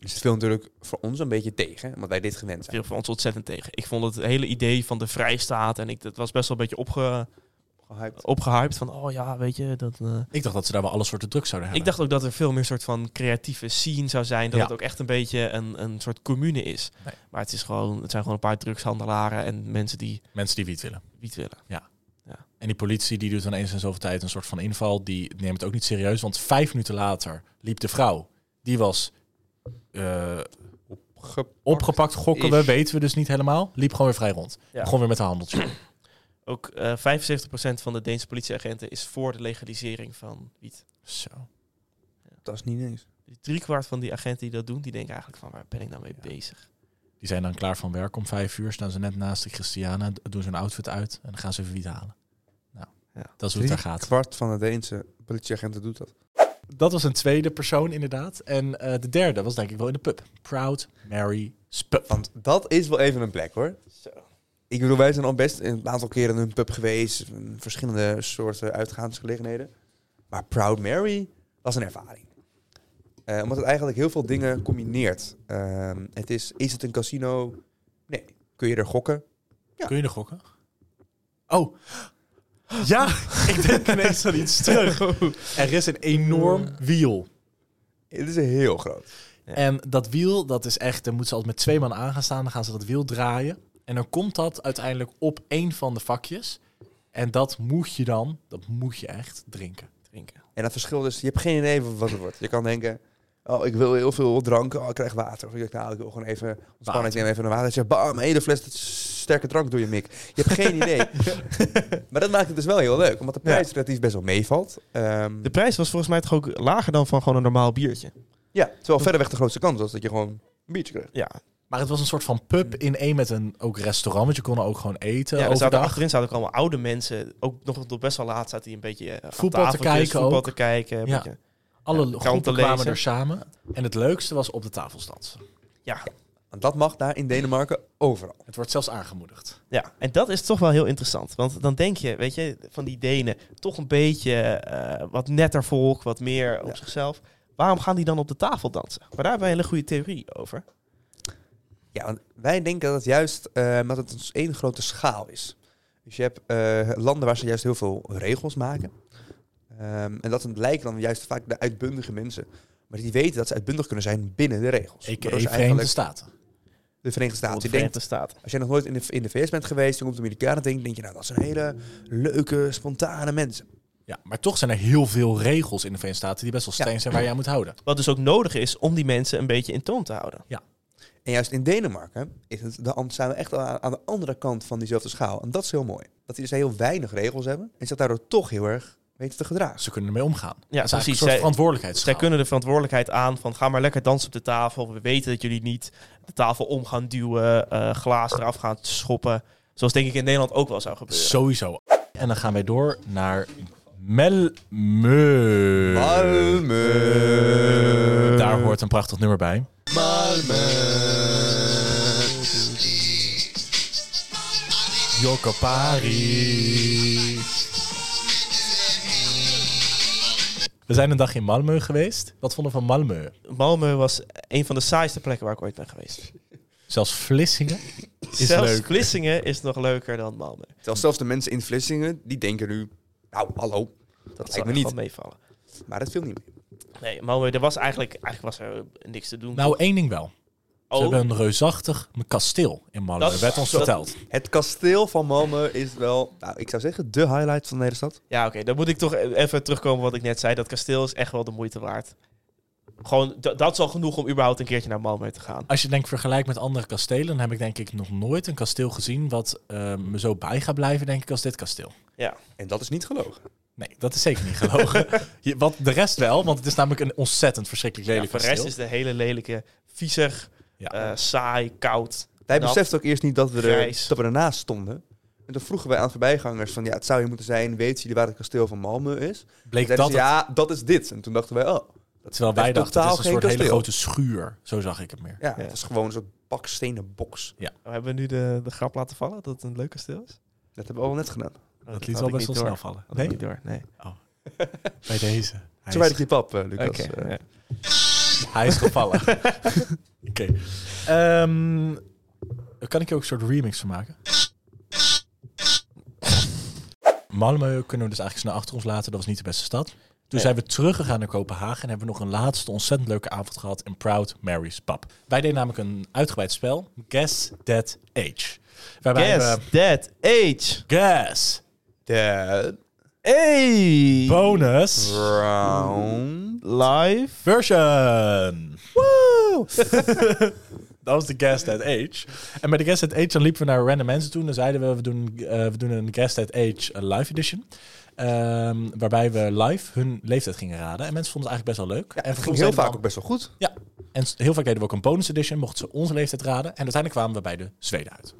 [SPEAKER 3] Dus het viel natuurlijk voor ons een beetje tegen, want wij dit gewend zijn.
[SPEAKER 2] viel voor ons ontzettend tegen. Ik vond het hele idee van de vrijstaat en ik, dat was best wel een beetje opge,
[SPEAKER 3] Gehyped.
[SPEAKER 2] opgehyped. Van, oh ja, weet je, dat... eh.
[SPEAKER 1] Ik dacht dat ze daar wel alle soorten drugs zouden
[SPEAKER 2] Ik
[SPEAKER 1] hebben.
[SPEAKER 2] dacht ook dat er veel meer soort van creatieve scene zou zijn. Dat
[SPEAKER 1] Ja.
[SPEAKER 2] het ook echt een beetje een, een soort commune is.
[SPEAKER 1] Nee.
[SPEAKER 2] Maar het, is gewoon, het zijn gewoon een paar drugshandelaren en mensen die
[SPEAKER 1] Mensen die wiet willen.
[SPEAKER 2] wiet willen.
[SPEAKER 1] En die politie die doet dan eens in zoveel tijd een soort van inval. Die neemt het ook niet serieus. Want vijf minuten later liep de vrouw. Die was eh, opgepakt, gokken we,
[SPEAKER 2] Is.
[SPEAKER 1] weten we dus niet helemaal. Liep gewoon weer vrij rond.
[SPEAKER 2] Ja.
[SPEAKER 1] Gewoon weer met een handeltje.
[SPEAKER 2] Ook eh 75% van de Deense politieagenten is voor de legalisering van wiet.
[SPEAKER 1] Zo.
[SPEAKER 3] Dat is niet eens.
[SPEAKER 2] Dus driekwart van die agenten die dat doen, die denken eigenlijk van waar ben ik nou mee
[SPEAKER 1] Ja.
[SPEAKER 2] bezig?
[SPEAKER 1] Die zijn dan klaar van werk om vijf uur. Staan ze net naast de Christiana. d- Doen ze een outfit uit. En dan gaan ze even wiet halen. Nou,
[SPEAKER 2] Ja.
[SPEAKER 1] dat is hoe het daar gaat.
[SPEAKER 3] kwart van de Deense politieagenten doet dat.
[SPEAKER 1] Dat was een tweede persoon inderdaad. En eh, de derde was denk ik wel in de pub. Proud Mary Spup.
[SPEAKER 3] Want dat is wel even een plek hoor.
[SPEAKER 2] <laughs>
[SPEAKER 3] Ik bedoel, wij zijn al best een aantal keren in een pub geweest. in Verschillende soorten uitgaansgelegenheden. Maar Proud Mary was een ervaring. Eh, omdat het eigenlijk heel veel dingen combineert. Ehm, het is, is het een casino? Nee. Kun je er gokken? Ja.
[SPEAKER 1] Kun je nog gokken? Oh. Ja, ik denk ineens aan iets
[SPEAKER 2] <laughs>
[SPEAKER 1] terug. Er is een enorm wiel.
[SPEAKER 3] Het is heel groot.
[SPEAKER 1] En dat wiel, dat is echt... Dan moeten ze altijd met twee man aan gaan staan. Dan gaan ze dat wiel draaien. En dan komt dat uiteindelijk op één van de vakjes. En dat moet je dan, dat moet je echt <laughs> drinken.
[SPEAKER 2] Drinken.
[SPEAKER 3] En dat verschil is, je hebt geen idee wat het wordt. Je kan denken, oh, ik wil heel veel drank, oh, ik krijg water. Of ik denk, nou, ik wil gewoon even ontspanning nemen, even een water. Je bam, een hele fles sterke drank door je mik. Je hebt geen <laughs> idee. maar dat maakt het dus wel heel leuk, omdat de prijs relatief best wel meevalt. Ehm,
[SPEAKER 2] De prijs was volgens mij toch ook lager dan van gewoon een normaal biertje.
[SPEAKER 3] ja, terwijl verderweg de grootste kans was dat je gewoon een biertje kreeg.
[SPEAKER 2] Ja,
[SPEAKER 1] Maar het was een soort van pub in één met een ook restaurant. Want je kon er ook gewoon eten
[SPEAKER 2] Mm. ja er zaten
[SPEAKER 1] overdag.
[SPEAKER 2] achterin zaten ook allemaal oude mensen. Ook nog tot best wel laat zaten die een beetje eh, aan
[SPEAKER 1] Voetbal te
[SPEAKER 2] tafeltjes,
[SPEAKER 1] kijken
[SPEAKER 2] Voetbal
[SPEAKER 1] ook.
[SPEAKER 2] te kijken. een
[SPEAKER 1] Ja.
[SPEAKER 2] beetje-
[SPEAKER 1] Alle
[SPEAKER 2] ja,
[SPEAKER 1] groepen
[SPEAKER 2] kranten
[SPEAKER 1] kwamen
[SPEAKER 2] lezen.
[SPEAKER 1] er samen. En het leukste was op de tafelstand.
[SPEAKER 2] ja.
[SPEAKER 3] Want dat mag daar in Denemarken overal.
[SPEAKER 1] Het wordt zelfs aangemoedigd.
[SPEAKER 2] Ja, en dat is toch wel heel interessant. Want dan denk je, weet je, van die Denen, toch een beetje eh, wat netter volk, wat meer op
[SPEAKER 3] Ja.
[SPEAKER 2] zichzelf. Waarom gaan die dan op de tafel dansen? Maar daar hebben we een hele goede theorie over.
[SPEAKER 3] Ja, want wij denken dat het juist, eh dat het een één grote schaal is. Dus je hebt eh, landen waar ze juist heel veel regels maken. Ehm, en dat lijken dan juist vaak de uitbundige mensen. Maar die weten dat ze uitbundig kunnen zijn binnen de
[SPEAKER 2] Dus
[SPEAKER 3] regels.
[SPEAKER 1] Ik
[SPEAKER 3] Waardoor ze
[SPEAKER 1] Verenigde Staten.
[SPEAKER 3] de Verenigde Staten.
[SPEAKER 2] de
[SPEAKER 3] Je denkt,
[SPEAKER 2] Verenigde Staten.
[SPEAKER 3] als jij nog nooit in de, in de VS bent geweest, je komt de Amerikanen denken, denk je, nou, dat zijn hele leuke, spontane mensen.
[SPEAKER 1] Ja, maar toch zijn er heel veel regels in de Verenigde Staten die best wel
[SPEAKER 3] Ja.
[SPEAKER 1] streng zijn waar je aan moet houden.
[SPEAKER 2] Wat dus ook nodig is om die mensen een beetje in toon te houden.
[SPEAKER 3] En juist in Denemarken is het de, zijn we echt aan, aan de andere kant van diezelfde schaal. En dat is heel mooi. Dat die dus heel weinig regels hebben en zich daardoor toch heel erg weten te gedragen.
[SPEAKER 1] Ze kunnen ermee omgaan. Ja, dat is eigenlijk
[SPEAKER 2] precies.
[SPEAKER 1] een
[SPEAKER 2] Zij-
[SPEAKER 1] soort verantwoordelijkheidsstraal.
[SPEAKER 2] Zij kunnen de verantwoordelijkheid aan van ga maar lekker dansen op de tafel. We weten dat jullie niet de tafel om gaan duwen, eh glaas eraf gaan schoppen. Zoals denk ik in Nederland ook wel zou gebeuren.
[SPEAKER 1] Sowieso. En dan gaan wij door naar Malmö.
[SPEAKER 3] Malmö.
[SPEAKER 1] Daar hoort een prachtig nummer bij. Joko Pari. We zijn een dag in Malmö geweest. Wat vonden we van Malmö?
[SPEAKER 2] Malmö was een van de saaiste plekken waar ik ooit ben geweest.
[SPEAKER 1] Zelfs Vlissingen is
[SPEAKER 2] Zelfs
[SPEAKER 1] leuk.
[SPEAKER 2] Vlissingen is nog leuker dan Malmö.
[SPEAKER 3] Terwijl zelfs de mensen in Vlissingen, die denken nu... Nou, hallo, dat
[SPEAKER 2] zal echt
[SPEAKER 3] lijkt me
[SPEAKER 2] wel
[SPEAKER 3] niet.
[SPEAKER 2] meevallen.
[SPEAKER 3] Maar dat viel niet mee.
[SPEAKER 2] Nee, Malmö, er was eigenlijk, eigenlijk was er niks te doen.
[SPEAKER 1] Nou, één ding wel. Ze Nou, hebben een reusachtig kasteel in Malmö,
[SPEAKER 2] Oh. Dat is-
[SPEAKER 1] werd ons
[SPEAKER 2] dat-
[SPEAKER 1] verteld.
[SPEAKER 3] Het kasteel van Malmö is wel, nou, ik zou zeggen, de highlight van de hele stad.
[SPEAKER 2] Ja, oké. Dan moet ik toch even terugkomen op wat ik net zei. Dat kasteel is echt wel de moeite waard. Gewoon, d- dat is al genoeg om überhaupt een keertje naar Malmö te gaan.
[SPEAKER 1] Als je denkt vergelijk met andere kastelen, dan heb ik denk ik nog nooit een kasteel gezien wat eh, me zo bij gaat blijven, denk ik, als dit kasteel.
[SPEAKER 3] En dat is niet gelogen.
[SPEAKER 1] Nee, dat is zeker niet <laughs> gelogen. Je- wat de rest wel, want het is namelijk een ontzettend verschrikkelijk
[SPEAKER 2] Ja,
[SPEAKER 1] lelijk
[SPEAKER 2] voor de
[SPEAKER 1] kasteel.
[SPEAKER 2] rest is de hele lelijke, viezig,
[SPEAKER 1] Ja.
[SPEAKER 2] eh, saai, koud.
[SPEAKER 3] Wij
[SPEAKER 2] Nat.
[SPEAKER 3] beseften ook eerst niet dat we, er,
[SPEAKER 2] Grijs.
[SPEAKER 3] dat we ernaast stonden. En toen vroegen wij aan voorbijgangers van, ja, het zou hier moeten zijn. Weten jullie waar het kasteel van Malmö is?
[SPEAKER 1] Bleek
[SPEAKER 3] Zeiden
[SPEAKER 1] dat
[SPEAKER 3] ze, ja, dat is dit. En toen dachten wij, oh.
[SPEAKER 1] het, terwijl
[SPEAKER 3] dat
[SPEAKER 1] wij
[SPEAKER 3] is
[SPEAKER 1] dachten, het
[SPEAKER 3] totaal
[SPEAKER 1] is een
[SPEAKER 3] geen
[SPEAKER 1] soort hele
[SPEAKER 3] kasteel.
[SPEAKER 1] grote schuur. Zo zag ik het meer.
[SPEAKER 3] Ja, het
[SPEAKER 2] Ja.
[SPEAKER 3] is gewoon een soort bakstenen box.
[SPEAKER 2] We hebben nu de, de grap laten vallen dat het een leuk kasteel is.
[SPEAKER 3] Dat hebben we al net gedaan.
[SPEAKER 2] Oh,
[SPEAKER 1] dat liet
[SPEAKER 2] had
[SPEAKER 1] wel
[SPEAKER 2] ik
[SPEAKER 1] best wel
[SPEAKER 2] niet
[SPEAKER 1] snel vallen.
[SPEAKER 2] door. Had ik
[SPEAKER 1] Nee,
[SPEAKER 2] niet door, nee.
[SPEAKER 1] bij deze. Hij
[SPEAKER 3] Zo wijd
[SPEAKER 1] is,
[SPEAKER 3] ik je pap, eh, Lucas.
[SPEAKER 2] Oké,
[SPEAKER 3] Eh,
[SPEAKER 2] ja.
[SPEAKER 1] hij is gevallen. <laughs> Oké. Ehm, kan ik hier ook een soort remix van maken? Malmö kunnen we dus eigenlijk snel achter ons laten. Dat was niet de beste stad. Toen
[SPEAKER 2] Nee.
[SPEAKER 1] zijn we teruggegaan naar Kopenhagen en hebben we nog een laatste ontzettend leuke avond gehad in Proud Mary's Pub. Wij deden namelijk een uitgebreid spel, Guess That Age. Waarbij
[SPEAKER 2] Guess
[SPEAKER 1] we
[SPEAKER 2] that
[SPEAKER 1] eh,
[SPEAKER 2] age.
[SPEAKER 1] Guess
[SPEAKER 3] Dead
[SPEAKER 2] Hey!
[SPEAKER 1] Bonus
[SPEAKER 3] round.
[SPEAKER 2] Live.
[SPEAKER 1] Version. Dat was de Guest at Age. En bij de Guest at Age dan liepen we naar random mensen toe. En dan zeiden we, we doen, eh, we doen een Guest at Age eh, live edition. Ehm, waarbij we live hun leeftijd gingen raden. En mensen vonden het eigenlijk best wel leuk.
[SPEAKER 3] Ja,
[SPEAKER 1] en
[SPEAKER 3] het ging
[SPEAKER 1] vervolgens deden
[SPEAKER 3] heel
[SPEAKER 1] we
[SPEAKER 3] vaak
[SPEAKER 1] dan-
[SPEAKER 3] ook best wel goed.
[SPEAKER 1] En s- heel vaak deden we ook een bonus edition. Mochten ze onze leeftijd raden. En uiteindelijk kwamen we bij de Zweden uit.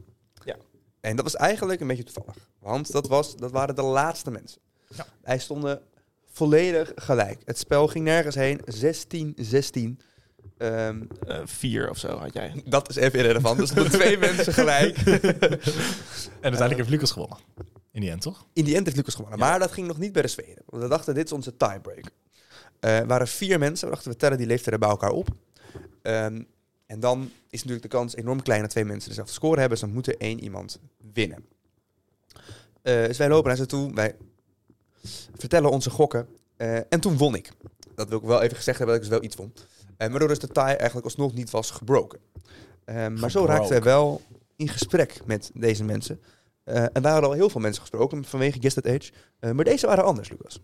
[SPEAKER 3] En dat was eigenlijk een beetje toevallig. Want dat, was, dat waren de laatste mensen.
[SPEAKER 1] Ja.
[SPEAKER 3] Wij stonden volledig gelijk. Het spel ging nergens heen. 16-16. Ehm,
[SPEAKER 2] Eh, vier of zo had jij.
[SPEAKER 3] dat is even irrelevant. Er stonden <laughs> twee mensen gelijk.
[SPEAKER 1] En uiteindelijk heeft Lucas gewonnen. In die end, toch?
[SPEAKER 3] In die end heeft Lucas gewonnen. Maar dat ging nog niet bij de Zweden. Want we dachten, dit is onze tiebreaker. Eh, Er waren vier mensen. We dachten, we tellen die leeftijden bij elkaar op. Ehm, en dan is natuurlijk de kans enorm klein dat twee mensen dezelfde score hebben. Dus dan moet er één iemand winnen. Eh, dus wij lopen naar ze toe. Wij vertellen onze gokken. Eh, en toen won ik. Dat wil ik wel even gezegd hebben dat ik dus wel iets won. Eh waardoor dus de tie eigenlijk alsnog niet was gebroken. Eh, maar zo
[SPEAKER 1] Gebroken.
[SPEAKER 3] raakten wij wel in gesprek met deze mensen. Eh, en daar hadden al heel veel mensen gesproken vanwege Guess That Age. Eh, maar deze waren anders, Lucas.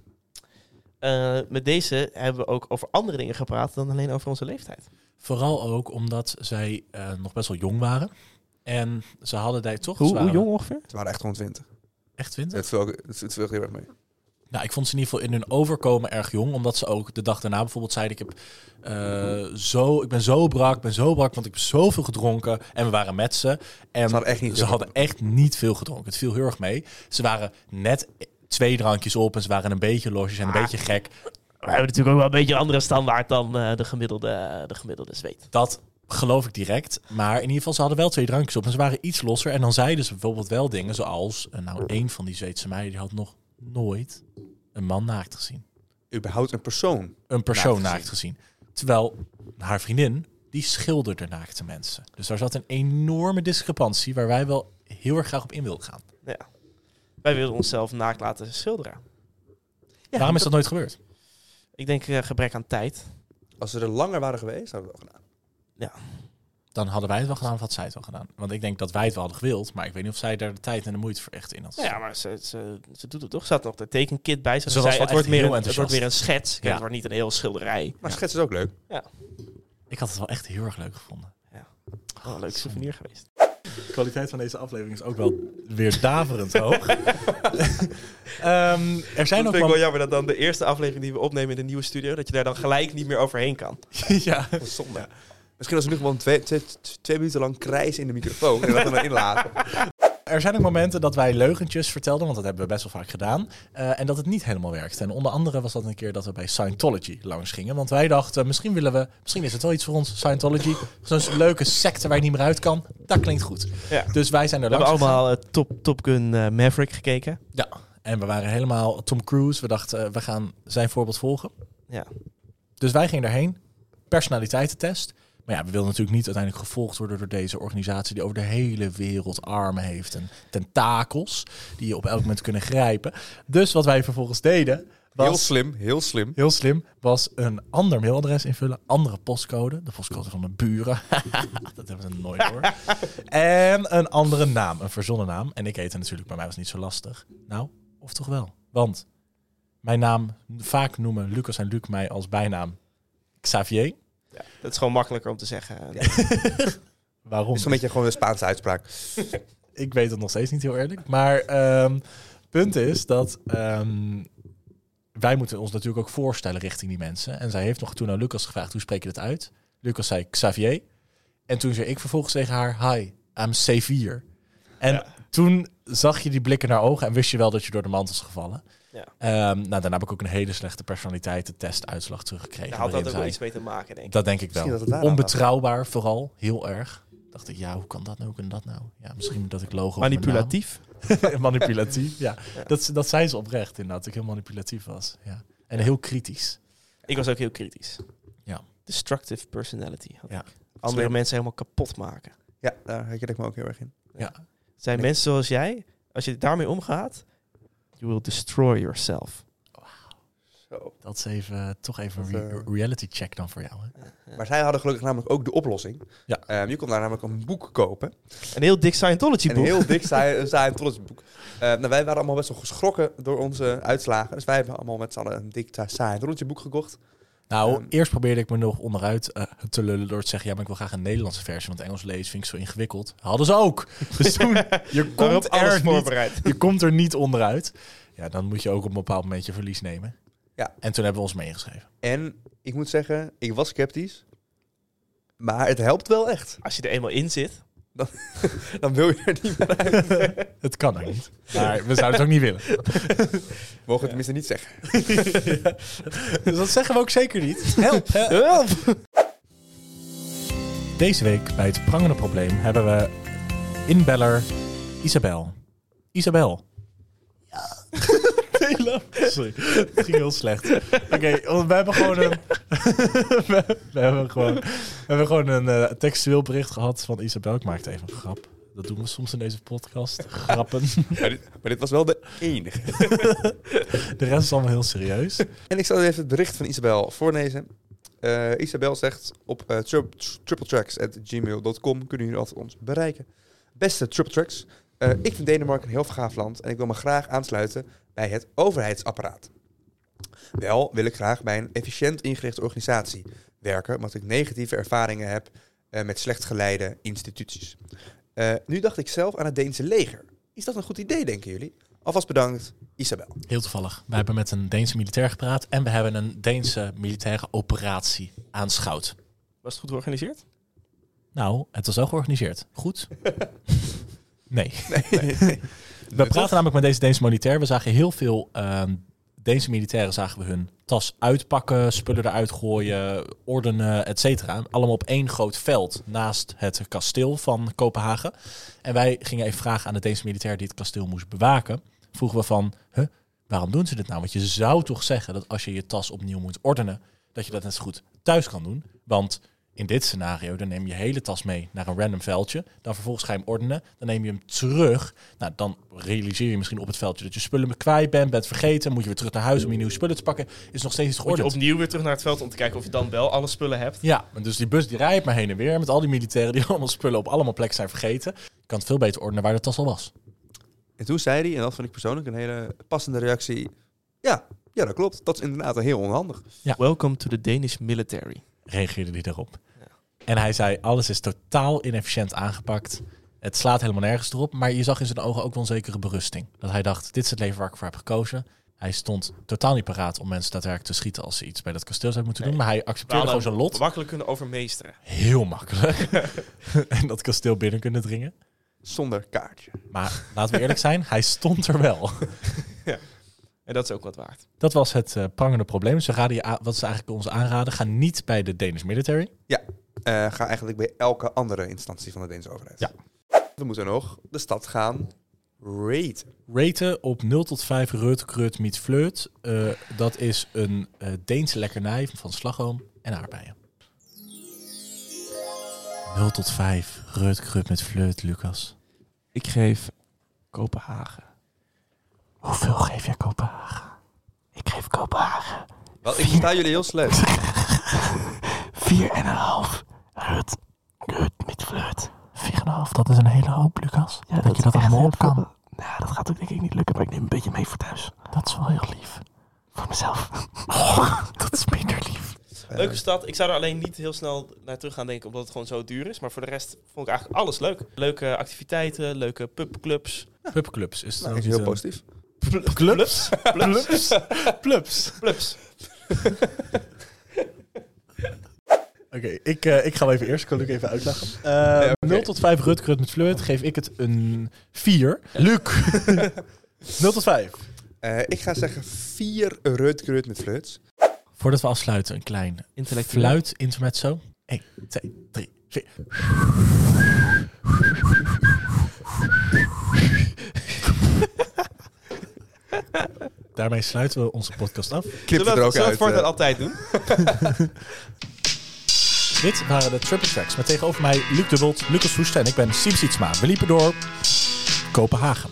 [SPEAKER 2] Eh, met deze hebben we ook over andere dingen gepraat dan alleen over onze leeftijd.
[SPEAKER 1] Vooral ook omdat zij eh, nog best wel jong waren. En ze hadden daar toch... ze
[SPEAKER 2] Hoe, hoe
[SPEAKER 1] waren
[SPEAKER 2] jong ongeveer?
[SPEAKER 3] Ze waren echt 120.
[SPEAKER 1] Echt 20?
[SPEAKER 3] Het viel, ook- het, het viel heel erg mee.
[SPEAKER 1] Nou, ik vond ze in ieder geval in hun overkomen erg jong. Omdat ze ook de dag daarna bijvoorbeeld zeiden... Ik, heb, eh, zo, ik ben zo brak, ik ben zo brak, want ik heb zoveel gedronken. En we waren met ze. En
[SPEAKER 3] Ze hadden echt niet
[SPEAKER 1] ze
[SPEAKER 3] veel
[SPEAKER 1] hadden echt niet veel gedronken. Het viel heel erg mee. Ze waren net twee drankjes op en ze waren een beetje losjes en een
[SPEAKER 2] Ah.
[SPEAKER 1] beetje gek.
[SPEAKER 2] We hebben natuurlijk ook wel een beetje een andere standaard dan eh, de, gemiddelde, de gemiddelde zweet.
[SPEAKER 1] Dat geloof ik direct. Maar in ieder geval, ze hadden wel twee drankjes op en ze waren iets losser. En dan zeiden ze bijvoorbeeld wel dingen zoals... eh, Nou, één van die Zweedse meiden die had nog nooit een man naakt gezien.
[SPEAKER 3] Überhaupt een persoon.
[SPEAKER 1] een persoon
[SPEAKER 3] Naakt
[SPEAKER 1] naakt gezien. Terwijl haar vriendin, die schilderde naakte mensen. Dus daar zat een enorme discrepantie waar wij wel heel erg graag op in wilden gaan.
[SPEAKER 2] Ja. Wij willen onszelf naakt laten schilderen.
[SPEAKER 1] Waarom is dat nooit gebeurd?
[SPEAKER 2] Ik denk eh, gebrek aan tijd.
[SPEAKER 3] Als ze er langer waren geweest, hadden we het wel gedaan.
[SPEAKER 1] Dan hadden wij het wel gedaan of had zij het wel gedaan. Want ik denk dat wij het wel hadden gewild, maar ik weet niet of zij daar de tijd en de moeite voor echt in had.
[SPEAKER 2] Nou ja, maar ze, ze, ze doet het toch. Ze had nog de tekenkit bij zich.
[SPEAKER 1] Ze
[SPEAKER 2] Ze
[SPEAKER 1] was wel
[SPEAKER 2] zei, het, wordt
[SPEAKER 1] echt
[SPEAKER 2] meer
[SPEAKER 1] heel
[SPEAKER 2] een, het wordt
[SPEAKER 1] enthousiast.
[SPEAKER 2] meer een schets. Kijk,
[SPEAKER 1] Ja.
[SPEAKER 2] Het wordt niet een heel schilderij.
[SPEAKER 3] Maar
[SPEAKER 1] Ja.
[SPEAKER 3] schets is ook leuk.
[SPEAKER 1] Ik had het wel echt heel erg leuk gevonden.
[SPEAKER 2] Oh, een leuk souvenir geweest.
[SPEAKER 1] De kwaliteit van deze aflevering is ook wel weer <laughs> daverend hoog. Ehm, er zijn
[SPEAKER 2] Dat
[SPEAKER 1] ook
[SPEAKER 2] vind ik wel
[SPEAKER 1] wel...
[SPEAKER 2] jammer dat dan de eerste aflevering die we opnemen in de nieuwe studio... dat je daar dan gelijk niet meer overheen
[SPEAKER 1] <laughs>
[SPEAKER 2] kan.
[SPEAKER 1] ja.
[SPEAKER 3] Dat is zonde. Misschien als we nu gewoon twee, twee, twee minuten lang krijs in de microfoon en dat dan inlaten.
[SPEAKER 1] Er zijn ook momenten dat wij leugentjes vertelden, want dat hebben we best wel vaak gedaan. eh, en dat het niet helemaal werkte. En onder andere was dat een keer dat we bij Scientology langs gingen. Want wij dachten, misschien willen we, misschien is het wel iets voor ons, Scientology. Zo'n leuke secte waar je niet meer uit kan. Dat klinkt goed.
[SPEAKER 2] Ja.
[SPEAKER 1] Dus wij zijn er
[SPEAKER 2] We hebben
[SPEAKER 1] langs gegaan.
[SPEAKER 2] allemaal eh, top, top Gun eh, Maverick gekeken.
[SPEAKER 1] Ja. En we waren helemaal Tom Cruise. We dachten, eh, we gaan zijn voorbeeld volgen.
[SPEAKER 2] Ja.
[SPEAKER 1] Dus wij gingen daarheen. Personaliteitentest. Maar ja, we wilden natuurlijk niet uiteindelijk gevolgd worden door deze organisatie die over de hele wereld armen heeft en tentakels die je op elk moment kunnen grijpen. Dus wat wij vervolgens deden,
[SPEAKER 3] Heel
[SPEAKER 1] was,
[SPEAKER 3] slim, heel slim.
[SPEAKER 1] heel slim, was een ander mailadres invullen, andere postcode, de postcode van de buren. <laughs> dat hebben ze nooit hoor. en een andere naam, een verzonnen naam. En ik heette natuurlijk, bij mij was het niet zo lastig. Nou, of toch wel? Want mijn naam, vaak noemen Lucas en Luc mij als bijnaam Xavier.
[SPEAKER 2] Ja, dat is gewoon makkelijker om te zeggen.
[SPEAKER 1] Waarom?
[SPEAKER 3] is een beetje gewoon een Spaanse uitspraak.
[SPEAKER 1] Ik weet het nog steeds niet heel eerlijk. Maar ehm punt is dat ehm, wij moeten ons natuurlijk ook voorstellen richting die mensen. En zij heeft nog toen aan Lucas gevraagd, hoe spreek je dat uit? Lucas zei Xavier. En toen zei ik vervolgens tegen haar, hi, I'm Xavier. En
[SPEAKER 2] Ja.
[SPEAKER 1] toen zag je die blikken naar ogen en wist je wel dat je door de mand was gevallen.
[SPEAKER 2] Ja.
[SPEAKER 1] Ehm, nou, daarna heb ik ook een hele slechte personaliteitentestuitslag teruggekregen.
[SPEAKER 2] Daar had dat
[SPEAKER 1] waarin
[SPEAKER 2] ook wel
[SPEAKER 1] zij-
[SPEAKER 2] iets mee te maken, denk ik.
[SPEAKER 1] dat denk ik wel.
[SPEAKER 3] Misschien dat het daaraan
[SPEAKER 1] Onbetrouwbaar vooral, heel erg. Dacht ik, ja, hoe kan dat nou? Hoe kan dat nou? Ja, misschien dat ik logo.
[SPEAKER 2] Manipulatief.
[SPEAKER 1] op mijn naam- <laughs> manipulatief, ja.
[SPEAKER 2] Ja.
[SPEAKER 1] Dat, ze- dat zei ze oprecht inderdaad, dat ik heel manipulatief was. Ja. En heel kritisch.
[SPEAKER 2] Ik was ook heel kritisch.
[SPEAKER 1] Ja.
[SPEAKER 2] Destructive personality. had
[SPEAKER 1] Ja.
[SPEAKER 2] ik. Andere
[SPEAKER 3] Slim.
[SPEAKER 2] mensen helemaal kapot maken.
[SPEAKER 3] Ja, daar herken ik me ook heel erg in.
[SPEAKER 2] Het zijn
[SPEAKER 3] Nee.
[SPEAKER 2] mensen zoals jij, als je daarmee omgaat, you will destroy yourself.
[SPEAKER 3] Zo.
[SPEAKER 1] Dat is even, eh, toch even een
[SPEAKER 3] Dat,
[SPEAKER 1] re-
[SPEAKER 3] eh,
[SPEAKER 1] reality check dan voor jou. Hè?
[SPEAKER 3] Maar zij hadden gelukkig namelijk ook de oplossing.
[SPEAKER 1] Ja.
[SPEAKER 3] Ehm, je kon daar namelijk een boek kopen.
[SPEAKER 2] Een heel dik Scientology
[SPEAKER 3] Een
[SPEAKER 2] boek. <laughs>
[SPEAKER 3] heel dik saai, saai boek. nou, wij waren allemaal best wel geschrokken door onze uitslagen. Dus wij hebben allemaal met z'n allen een dik ta- saai rondje boek gekocht.
[SPEAKER 1] Nou,
[SPEAKER 3] ehm,
[SPEAKER 1] eerst probeerde ik me nog onderuit eh, te lullen door te zeggen... ja, maar ik wil graag een Nederlandse versie, want Engels lezen vind ik zo ingewikkeld. Hadden ze
[SPEAKER 3] <laughs>
[SPEAKER 1] ook. Dus toen, je
[SPEAKER 2] Daarop
[SPEAKER 1] komt,
[SPEAKER 2] alles
[SPEAKER 1] er niet,
[SPEAKER 2] voorbereid.
[SPEAKER 1] je komt er niet onderuit. Ja, dan moet je ook op een bepaald moment je verlies nemen.
[SPEAKER 3] Ja.
[SPEAKER 1] En toen hebben we ons meegeschreven.
[SPEAKER 3] En ik moet zeggen, ik was sceptisch. Maar het helpt wel echt.
[SPEAKER 2] Als je er eenmaal in zit,
[SPEAKER 3] Dan wil je er niet meer uit.
[SPEAKER 1] Het kan er niet. Maar we zouden het ook niet <laughs> willen.
[SPEAKER 3] Mogen we tenminste niet zeggen.
[SPEAKER 1] Dus dat zeggen we ook zeker niet. Help! Help! Deze week bij het prangende probleem hebben we inbeller Isabel. Isabel. <laughs> Ja. Sorry, het ging heel slecht. Oké, want we hebben gewoon een, <laughs> we, we hebben gewoon, we hebben gewoon een eh, textueel bericht gehad van Isabel. Ik maakte even een grap. Dat doen we soms in deze podcast. Grappen.
[SPEAKER 3] Maar dit, maar dit was wel de enige.
[SPEAKER 1] De rest is allemaal heel serieus.
[SPEAKER 3] En ik zal even het bericht van Isabel voorlezen. Eh, Isabel zegt op uh, tripletracks.gmail.com kunnen jullie altijd ons bereiken. Beste tripletracks, eh, ik vind Denemarken een heel gaaf land en ik wil me graag aansluiten bij het overheidsapparaat. Wel wil ik graag bij een efficiënt ingerichte organisatie werken, omdat ik negatieve ervaringen heb eh, met slecht geleide instituties. Eh, nu dacht ik zelf aan het Deense leger. Is dat een goed idee, denken jullie? Alvast bedankt, Isabel.
[SPEAKER 1] Heel toevallig. Wij hebben met een Deense militair gepraat en we hebben een Deense militaire operatie aanschouwd.
[SPEAKER 2] was het goed georganiseerd?
[SPEAKER 1] Nou, het was wel georganiseerd. <laughs> Goed? nee. <laughs> We
[SPEAKER 3] Nuttig.
[SPEAKER 1] praten namelijk met deze Deense militair. We zagen heel veel ehm, Deense militairen zagen we hun tas uitpakken, spullen eruit gooien, ordenen, et cetera. Allemaal op één groot veld naast het kasteel van Kopenhagen. En wij gingen even vragen aan de Deense militair die het kasteel moest bewaken. Vroegen we van, huh, waarom doen ze dit nou? Want je zou toch zeggen dat als je je tas opnieuw moet ordenen, dat je dat net zo goed thuis kan doen. Want in dit scenario, dan neem je je hele tas mee naar een random veldje. Dan vervolgens ga je hem ordenen. Dan neem je hem terug. Nou, dan realiseer je misschien op het veldje dat je spullen me kwijt bent, bent vergeten. Moet je weer terug naar huis om je nieuwe spullen te pakken. Is nog steeds iets
[SPEAKER 2] Word je
[SPEAKER 1] geordend.
[SPEAKER 2] opnieuw weer terug naar het veld om te kijken of je dan wel alle spullen hebt?
[SPEAKER 1] Ja, maar dus die bus die rijdt maar heen en weer met al die militairen die <laughs> allemaal spullen op allemaal plekken zijn vergeten. Je kan het veel beter ordenen waar de tas al was.
[SPEAKER 3] En toen zei hij, en dat vond ik persoonlijk een hele passende reactie. Ja, ja dat klopt. Dat is inderdaad heel onhandig.
[SPEAKER 2] Welcome to the Danish military.
[SPEAKER 1] reageerde hij daarop. En hij zei, alles is totaal inefficiënt aangepakt. Het slaat helemaal nergens erop. Maar je zag in zijn ogen ook wel een zekere berusting. Dat hij dacht, dit is het leven waar ik voor heb gekozen. Hij stond totaal niet paraat om mensen daadwerkelijk te schieten als ze iets bij dat kasteel zouden moeten doen.
[SPEAKER 2] Nee.
[SPEAKER 1] Maar hij accepteerde gewoon zijn lot.
[SPEAKER 2] Makkelijk kunnen overmeesteren.
[SPEAKER 1] Heel makkelijk. <laughs> en dat kasteel binnen kunnen dringen.
[SPEAKER 3] Zonder kaartje.
[SPEAKER 1] Maar laten we eerlijk zijn, hij stond er wel.
[SPEAKER 2] En dat is ook wat waard.
[SPEAKER 1] Dat was het eh, prangende probleem. Dus we raden je aan- wat is eigenlijk ons aanraden? Ga niet bij de Danish military.
[SPEAKER 3] Eh, ga eigenlijk bij elke andere instantie van de Deense overheid.
[SPEAKER 1] Ja.
[SPEAKER 3] We moeten nog de stad gaan raten.
[SPEAKER 1] Raten op 0 tot 5 Reut, Kreut, Miet, Fleut. Eh, dat is een eh, Deense lekkernij van slagroom en aardbeien. 0 tot 5 Reut, Kreut, met Fleut, Lucas.
[SPEAKER 2] Ik geef Kopenhagen
[SPEAKER 1] Hoeveel geef jij Kopenhagen?
[SPEAKER 2] Ik geef Kopenhagen
[SPEAKER 3] Wel, ik versta jullie heel slecht.
[SPEAKER 2] 4,5. Rut. Rut met flirt.
[SPEAKER 1] 4,5, dat is een hele hoop, Lucas. dat, je dat allemaal op kan.
[SPEAKER 2] Nou, dat gaat ook denk ik niet lukken, maar ik neem een beetje mee voor thuis.
[SPEAKER 1] Dat is wel heel lief. Oh,
[SPEAKER 2] Voor mezelf.
[SPEAKER 1] <laughs> Dat is minder lief.
[SPEAKER 2] Leuke stad. Ik zou er alleen niet heel snel naar terug gaan denken, omdat het gewoon zo duur is. Maar voor de rest vond ik eigenlijk alles leuk. Leuke activiteiten, leuke pubclubs.
[SPEAKER 1] Pubclubs is het
[SPEAKER 3] Nou,
[SPEAKER 1] ook
[SPEAKER 3] is
[SPEAKER 1] niet
[SPEAKER 3] heel
[SPEAKER 1] een-
[SPEAKER 3] positief.
[SPEAKER 2] Clubs? <laughs> Clubs?
[SPEAKER 1] Clubs.
[SPEAKER 2] Clubs.
[SPEAKER 1] Oké, ik, eh, ik ga hem even eerst. Ik kan Luc even uitleggen. Eh, 0 tot 5 Rut, Rut met Flirt. Geef ik het een 4. <laughs> Luc. 0 tot 5.
[SPEAKER 3] Eh, ik ga zeggen vier reutkreut met flirts.
[SPEAKER 1] Voordat we afsluiten, een klein
[SPEAKER 2] Intellectueel.
[SPEAKER 1] fluit intermezzo. 1, 2, 3, 4. <laughs> Daarmee sluiten we onze podcast af.
[SPEAKER 3] Knip
[SPEAKER 2] Zullen
[SPEAKER 3] het
[SPEAKER 2] we
[SPEAKER 3] er
[SPEAKER 2] het
[SPEAKER 3] ook
[SPEAKER 2] zullen we het
[SPEAKER 3] uit.
[SPEAKER 2] voortaan
[SPEAKER 3] eh.
[SPEAKER 2] altijd doen?
[SPEAKER 1] Dit waren de Triple Tracks met tegenover mij Luc de Wult, Lucas Hoesten en ik ben Siem Sietsma. We liepen door Kopenhagen.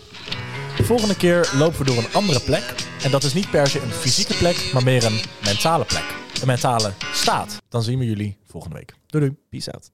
[SPEAKER 1] De volgende keer lopen we door een andere plek. En dat is niet per se een fysieke plek, maar meer een mentale plek. Een mentale staat. Dan zien we jullie volgende week. Doei doei.
[SPEAKER 2] Peace out.